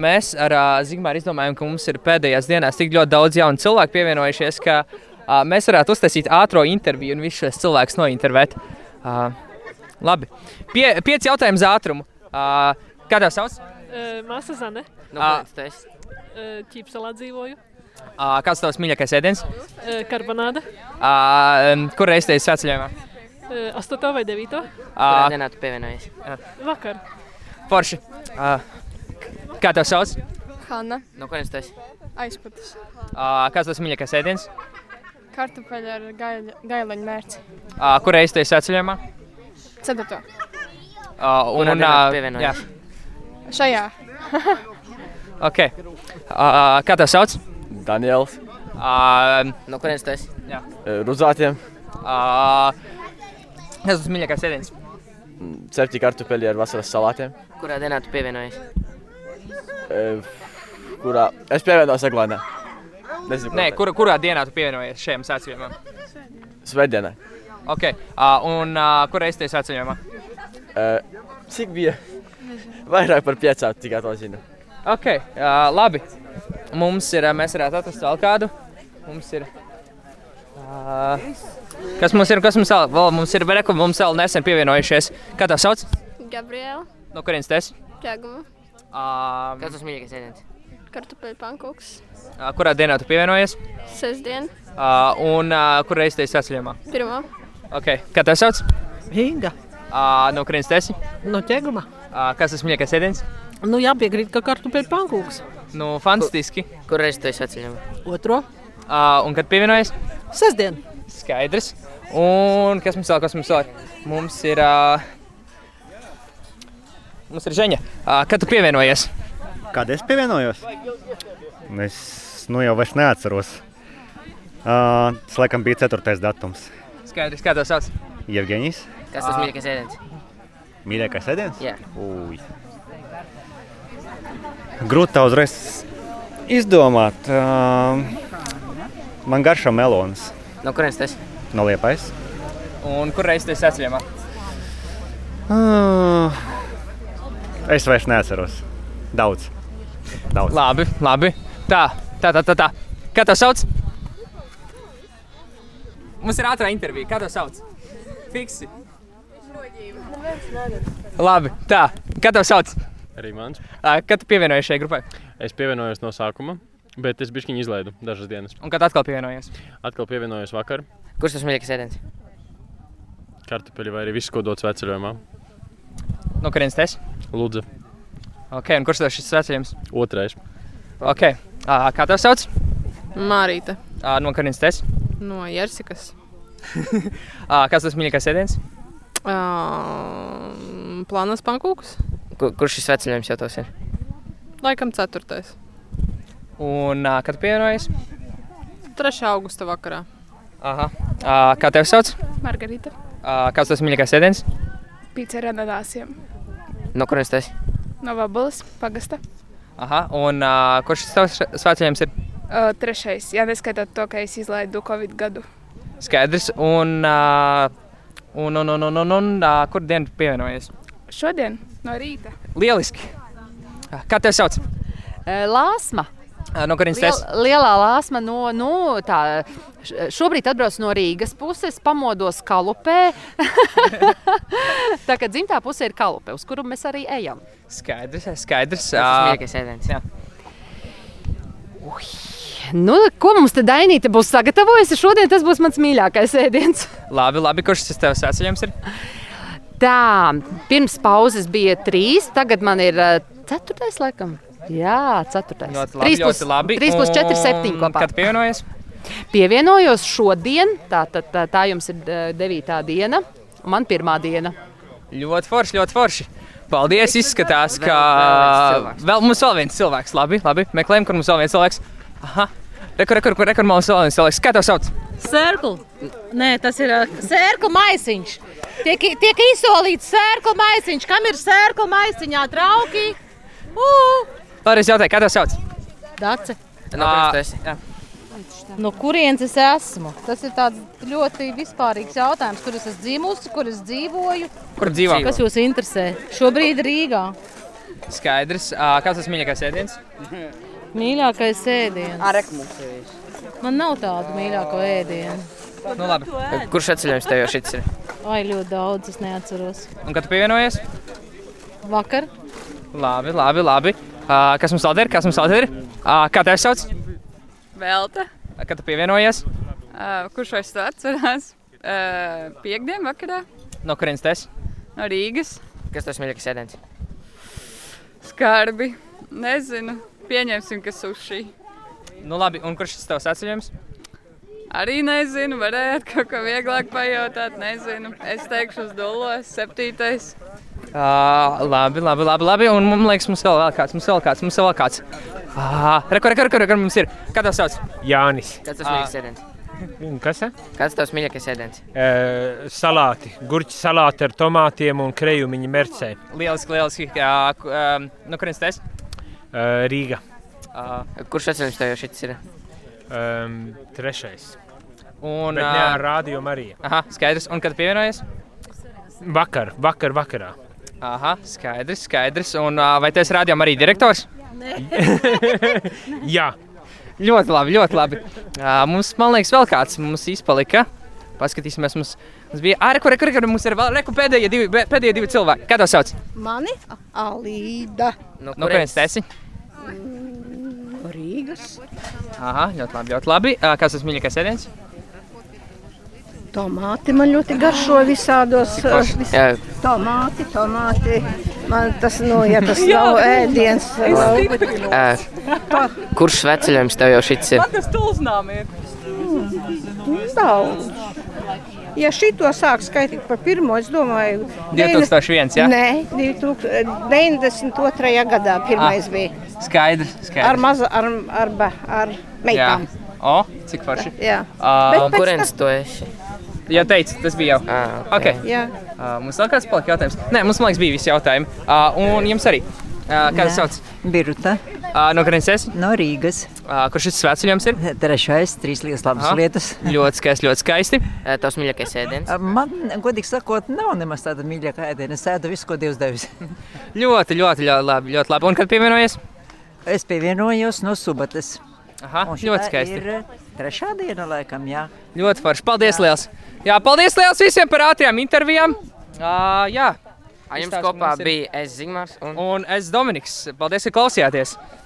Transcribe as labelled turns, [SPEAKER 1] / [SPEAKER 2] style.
[SPEAKER 1] Mēs ar uh, Zigmāru izdomājām, ka mums ir pēdējās dienās tik ļoti daudz jaunu cilvēku pievienojušies, ka uh, mēs varētu uztaisīt ātrā interviju un visus šos cilvēkus nointervēt. Uh, labi, Pie, pieci jautājumi uz ātrumu. Uh, kā tev sauc?
[SPEAKER 2] Uh, Māsa Zane,
[SPEAKER 3] Nu, kāds tas ir?
[SPEAKER 2] uh, ķīpselā dzīvoju.
[SPEAKER 1] Uh, kāds tavs mīļākais ēdiens?
[SPEAKER 2] Uh, Karbonāde,
[SPEAKER 1] Uh, kur reiz tevis atceļojumā?
[SPEAKER 2] uh, 8 vai 9.
[SPEAKER 3] Kurā
[SPEAKER 1] Uh,
[SPEAKER 3] dienā tu pievienojies?
[SPEAKER 2] Vakar.
[SPEAKER 1] Forši. Uh, kā tev sauc?
[SPEAKER 4] Hanna
[SPEAKER 3] Nu, kurš tas ir?
[SPEAKER 4] aizpūtas.
[SPEAKER 1] Uh, kāds tavs mīļākais ēdiens?
[SPEAKER 4] Kartupeļi ar gaļa, gaļaņu mērci.
[SPEAKER 1] Uh, kur reiz tevis atceļojumā?
[SPEAKER 4] Ceturto.
[SPEAKER 1] Uh, un,
[SPEAKER 3] Kurā
[SPEAKER 1] un,
[SPEAKER 3] dienā tu
[SPEAKER 1] uh, jā,
[SPEAKER 3] pievienojies?
[SPEAKER 4] Šajā.
[SPEAKER 1] ok. Uh, kā tev sauc?
[SPEAKER 5] Daniels, eh,
[SPEAKER 1] Uh,
[SPEAKER 3] Nu, kurš tas ir?
[SPEAKER 5] ruzātiem,
[SPEAKER 1] Ā, Tas ir mīļākais sēdes.
[SPEAKER 5] cepti kartupeļi ar vasaras salātiem,
[SPEAKER 3] Kurā dienā tu pievienojies?
[SPEAKER 5] e, kurā es pievienojos Eglānē. Nezinu,
[SPEAKER 1] Nē, kur, kurā dienā tu pievienojies šiem sēcijumam?
[SPEAKER 5] Svētdienā.
[SPEAKER 1] Okay. Uh, un uh, kur es te sēcijumā?
[SPEAKER 5] E, Cik bija? Vairāk par piecām, tikai to zinu.
[SPEAKER 1] Ok, uh, labi. Mums ir, ā, mēs varētu atrast vēl kādu. Mums ir. Uh, kas mums ir? Kas mums vēl? vēl mums ir Bereka, mums vēl nesen pievienojušies. Kā tā sauc?
[SPEAKER 4] Gabriela,
[SPEAKER 1] No kurienes tas?
[SPEAKER 4] ķēguma,
[SPEAKER 1] Uh,
[SPEAKER 3] Kāds tas mīļākais ēdiens?
[SPEAKER 4] kartupeļu pankūks,
[SPEAKER 1] kurā dienā tu pievienojies?
[SPEAKER 4] sestdiena,
[SPEAKER 1] Uh, un uh, kur es te sēcijumā?
[SPEAKER 4] pirmā,
[SPEAKER 1] Okay. Kā tā sauc?
[SPEAKER 6] Inga,
[SPEAKER 1] Uh, no kurienes tas?
[SPEAKER 6] no ķēguma.
[SPEAKER 1] Uh, kas tas mīļākais sēdes?
[SPEAKER 6] Nu, jāpiekrīt, ka kartupeļu pankūks.
[SPEAKER 1] Nu, fantastiski.
[SPEAKER 3] Kurā reizē tu esi atceļojumā?
[SPEAKER 6] Otro
[SPEAKER 1] Uh, un kad pievienojas,
[SPEAKER 6] sestdienu.
[SPEAKER 1] skaidrs. Un kas mums vēl, kas mums vēl? ir? Mums ir. Uh, mums ir žēņa. Uh, kad tu pievienojies?
[SPEAKER 7] Kad es pievienojos? Es nu, jau vairs neatceros. Uh, tas laikam bija 4. datums.
[SPEAKER 1] Skaidrs, kā tas sauc.
[SPEAKER 7] Jevģīnijas
[SPEAKER 3] Kas tas mīļākais ēdiens?
[SPEAKER 7] mīļākais ēdiens?
[SPEAKER 3] Jā.
[SPEAKER 7] Uj. Grūti tā uzreiz izdomāt. Uh, man garšo melons
[SPEAKER 3] Nu, kurš tas ir?
[SPEAKER 7] no liepais.
[SPEAKER 1] Un kur reizes tas atceļamā?
[SPEAKER 7] Uh, es vairs neatceros. Daudz. Daudz.
[SPEAKER 1] Labi, labi. Tā, tā, tā, tā. tā. Kā tas sauc? Mums ir ātrā intervija. Kā tas sauc? Fiksi. Labi, tā. Kā tas sauc?
[SPEAKER 8] Arī mans.
[SPEAKER 1] Uh, kad tu pievienojies šai grupai?
[SPEAKER 8] Es pievienojos no sākuma, bet es bišķiņu izlaidu dažas dienas.
[SPEAKER 1] Un kad atkal pievienojies?
[SPEAKER 8] Atkal pievienojos vakar,
[SPEAKER 3] Kurš tas mīļākais ēdiens?
[SPEAKER 8] kartupeļi vai arī viss, ko dots veceļojumā.
[SPEAKER 1] No kurienes tas?
[SPEAKER 8] Lūdzu,
[SPEAKER 1] Ok, un kurš tev šis sacījums?
[SPEAKER 8] otrais.
[SPEAKER 1] Ok, uh, kā tev sauc?
[SPEAKER 9] Mārīte
[SPEAKER 1] Uh, no kurienes tas?
[SPEAKER 9] no Jersikas.
[SPEAKER 1] Uh, kas tas mīļākais sēdiens?
[SPEAKER 9] Um, plānas pankūks,
[SPEAKER 3] Ku- Kurš šis veceļojums jau tos ir?
[SPEAKER 9] laikam 4.
[SPEAKER 1] Un uh, kad pievienojies?
[SPEAKER 9] 3. augusta vakarā.
[SPEAKER 1] Aha. Uh, kā tev sauc?
[SPEAKER 4] margarita,
[SPEAKER 1] Uh, kas tas mīļākais sēdiens?
[SPEAKER 4] pīce ar ananāsiem,
[SPEAKER 3] Nu, kurš tas ir?
[SPEAKER 4] no vabalas, pagasta.
[SPEAKER 1] Aha. Un uh, kurš šis tavs svētceļojums ir?
[SPEAKER 4] Uh, trešais, ja neskaitot to, ka es izlaidu Covid gadu.
[SPEAKER 1] Skaidrs. Un, uh, un, un, un, un, un, un uh, kur dienu tu pievienojies?
[SPEAKER 4] Šodien no rīta.
[SPEAKER 1] Lieliski. Uh, Kā tev sauc?
[SPEAKER 10] Eh, Lāsma.
[SPEAKER 1] Uh, no kurienes
[SPEAKER 10] Liel,
[SPEAKER 1] tas?
[SPEAKER 10] lielā lāsma no, nu, tā, š- šobrīd atbrauc no Rīgas puses, pamodos kalupē. tā kā dzimtā puse ir kalupe, uz kuru mēs arī ejam.
[SPEAKER 1] Skaidrs, skaidrs.
[SPEAKER 3] Kas tas
[SPEAKER 1] Uh,
[SPEAKER 3] mīļākais ēdiens?
[SPEAKER 1] jā.
[SPEAKER 10] Nu, ko mums te dainīte būs sagatavojusi? Šodien tas būs mans mīļākais ēdiens.
[SPEAKER 1] labi, labi. Kurš šis tavs svētceļojums ir?
[SPEAKER 10] Tā, pirms pauzes bija trīs, tagad man ir ā, ceturtais, laikam. Jā, ceturtais.
[SPEAKER 1] Ļoti labi. ļoti labi.
[SPEAKER 10] 3 plus 4,
[SPEAKER 1] Un
[SPEAKER 10] 7 kopā.
[SPEAKER 1] Kad pievienojies?
[SPEAKER 10] Pievienojos šodien, tā, tā, tā, tā jums ir ā, devītā diena, un man pirmā diena.
[SPEAKER 1] Ļoti forši, ļoti forši. Paldies! Izskatās, ka
[SPEAKER 3] vēl viens cilvēks.
[SPEAKER 1] vēl mums vēl viens cilvēks. Labi, labi. meklējam, kur mums vēl viens cilvēks. Aha! Rekur, rekur, rekur, rekur, mums vēl viens cilvēks. Kā tev sauc?
[SPEAKER 11] Sērkle. Nē, tas ir ā, sērkle maisiņš. Tiek, tiek izsolīts sērkle maisiņš. Kam ir sērkle maisiņā trauki? Uu!
[SPEAKER 1] Vēlreiz jautāju, kā tev sauc?
[SPEAKER 11] Dace.
[SPEAKER 3] Nu, kurš tas
[SPEAKER 1] Ā,
[SPEAKER 3] ir?
[SPEAKER 1] jā.
[SPEAKER 11] No kurienes es esmu? Tas ir tāds ļoti vispārīgs jautājums, kur es esmu dzimusi, kur es dzīvoju.
[SPEAKER 1] Kur dzīvo?
[SPEAKER 3] Dzīvo.
[SPEAKER 11] Kas jūs interesē? Šobrīd Rīgā.
[SPEAKER 1] Skaidrs. Uh, kāds tas mīļākais ēdiens?
[SPEAKER 12] Mīļākais ēdiens.
[SPEAKER 1] Arek
[SPEAKER 12] mums ir. Man nav tādu mīļāko ēdienu.
[SPEAKER 1] Nu, labi.
[SPEAKER 3] Kurš atceļojums tev jau šis ir?
[SPEAKER 12] Vai ļoti daudz, es neatceros.
[SPEAKER 1] Un kad tu pievienojies?
[SPEAKER 12] Vakar
[SPEAKER 1] Labi, labi. labi. Uh, kas mums vēl ir? Kas mums vēl ir? Uh, kā tevi sauc?
[SPEAKER 4] Velta.
[SPEAKER 1] Kad tu pievienojies?
[SPEAKER 4] Uh, kurš vairs to atcerās? Uh, Piektdien vakarā
[SPEAKER 1] No kurienes tu esi?
[SPEAKER 4] no Rīgas.
[SPEAKER 3] Kas tas mīļākais ēdiens?
[SPEAKER 4] Skarbi. Nezinu. Pieņemsim, ka suši.
[SPEAKER 1] Nu, labi. Un kurš tas tavs atceļojums?
[SPEAKER 4] Arī nezinu, varētu kaut ko vieglāk pajautāt. Nezinu. Es teikšu, uz dūlos, septītais.
[SPEAKER 1] Uh, labi, labi, labi, labi. Un man liekas, mums vēl vēl kāds, mums vēl kāds, mums vēl kāds. Ah, rekur, rekur, rekur, rekur, mums ir. Kā tev sauc?
[SPEAKER 7] Jānis.
[SPEAKER 3] Kas tas mīļākais ēdiens?
[SPEAKER 7] Kas tas?
[SPEAKER 3] Kāds tavs mīļākais ēdiens?
[SPEAKER 7] E, salāti, gurķi salāti ar tomātiem un krejumiņu mercē.
[SPEAKER 1] Lieliski, lieliski. Uh, um, no kurienes tu esi?
[SPEAKER 7] E, Rīga.
[SPEAKER 3] Kurš atceļojums tev jau šis ir?
[SPEAKER 7] Um,
[SPEAKER 11] Mm,
[SPEAKER 7] trešais.
[SPEAKER 1] Un
[SPEAKER 7] Bet ne ar
[SPEAKER 1] ā,
[SPEAKER 7] Rādio Mariju.
[SPEAKER 1] Aha, skaidrs. Un kad pievienojies?
[SPEAKER 7] Vakar, vakar, vakarā.
[SPEAKER 1] Aha, skaidrs, skaidrs. Un uh, vai tas rādījām arī direktors?
[SPEAKER 7] Jā.
[SPEAKER 1] Ļoti labi, ļoti labi. Uh, mums, man liekas, vēl kāds mums izpalika. Paskatīsimies, mums, mums bija arī kur, kur, kur mums ir vēl reku pēdējie divi, bē- pēdējie divi cilvēki. Kā tev sauc?
[SPEAKER 11] Mani Alīda.
[SPEAKER 1] No kurienes tu Nu, esi?
[SPEAKER 11] Rīgas
[SPEAKER 1] Aha, ļoti labi, ļoti labi. Uh, kas tas mīļākais ēdiens?
[SPEAKER 11] tomāti man ļoti garšo visādos.
[SPEAKER 1] Cik forši.
[SPEAKER 11] eh, vis-
[SPEAKER 1] Jā.
[SPEAKER 11] Tomāti, tomāti. Man tas, nu, ja tas
[SPEAKER 13] Jā,
[SPEAKER 11] nav
[SPEAKER 13] es-
[SPEAKER 11] ēdiens.
[SPEAKER 13] es
[SPEAKER 11] vēl-
[SPEAKER 3] Ē, Kurš sveceļojums tev jau šis ir?
[SPEAKER 13] tas tulznām ir.
[SPEAKER 11] Daudz. Ja šito sāk skaitīt par pirmo, es domāju,
[SPEAKER 1] 2001, jā?
[SPEAKER 11] Nē, 92. gadā pirmais
[SPEAKER 1] Ah.
[SPEAKER 11] bija.
[SPEAKER 1] Skaidrs,
[SPEAKER 11] Ar
[SPEAKER 1] skaidrs.
[SPEAKER 11] mazu, ar, ar, ba- ar
[SPEAKER 1] Jā.
[SPEAKER 11] meitām.
[SPEAKER 1] O, cik forši.
[SPEAKER 11] Jā. Bet
[SPEAKER 1] Uh,
[SPEAKER 11] pēc Kurienes
[SPEAKER 3] tu esi?
[SPEAKER 1] Jā, teicu, tas bija jau. Okay.
[SPEAKER 11] Jā.
[SPEAKER 1] Uh, mums vēl kāds palika jautājums. Nē, mums, man liekas, bija visi jautājumi. Uh, un jums arī. Uh, kā jūs
[SPEAKER 10] Jā.
[SPEAKER 1] sauc? Birta. Uh, no kurienes esat?
[SPEAKER 10] No Rīgas.
[SPEAKER 1] Uh, kurš šis svēts jums ir?
[SPEAKER 10] Trešais, trīs lietas, labas
[SPEAKER 1] Aha.
[SPEAKER 10] lietas.
[SPEAKER 1] Ļoti skaisti, ļoti skaisti.
[SPEAKER 3] Tavs Eh, mīļākais ēdiens?
[SPEAKER 10] Man, godīgi sakot, nav nemaz tāda mīļa ēdiena. Es ēdu visu, ko Dievs devis.
[SPEAKER 1] Ļoti, ļoti, ļoti labi. Ļoti labi. Un kad pievienojies?
[SPEAKER 10] Es pievienojos no Subates.
[SPEAKER 1] Aha,
[SPEAKER 10] Un šitā
[SPEAKER 1] ļoti skaisti.
[SPEAKER 10] Ir trešā diena, laikam, jā.
[SPEAKER 1] Ļoti forši. Paldies, Lielas! Jā, paldies Lielas visiem par ātrām intervijām! Uh, jā,
[SPEAKER 3] Ar jums
[SPEAKER 1] Izstāsti,
[SPEAKER 3] kopā
[SPEAKER 1] mums ir-
[SPEAKER 3] bija es Zigmārs un
[SPEAKER 1] un es Dominiks. Paldies, ka klausījāties!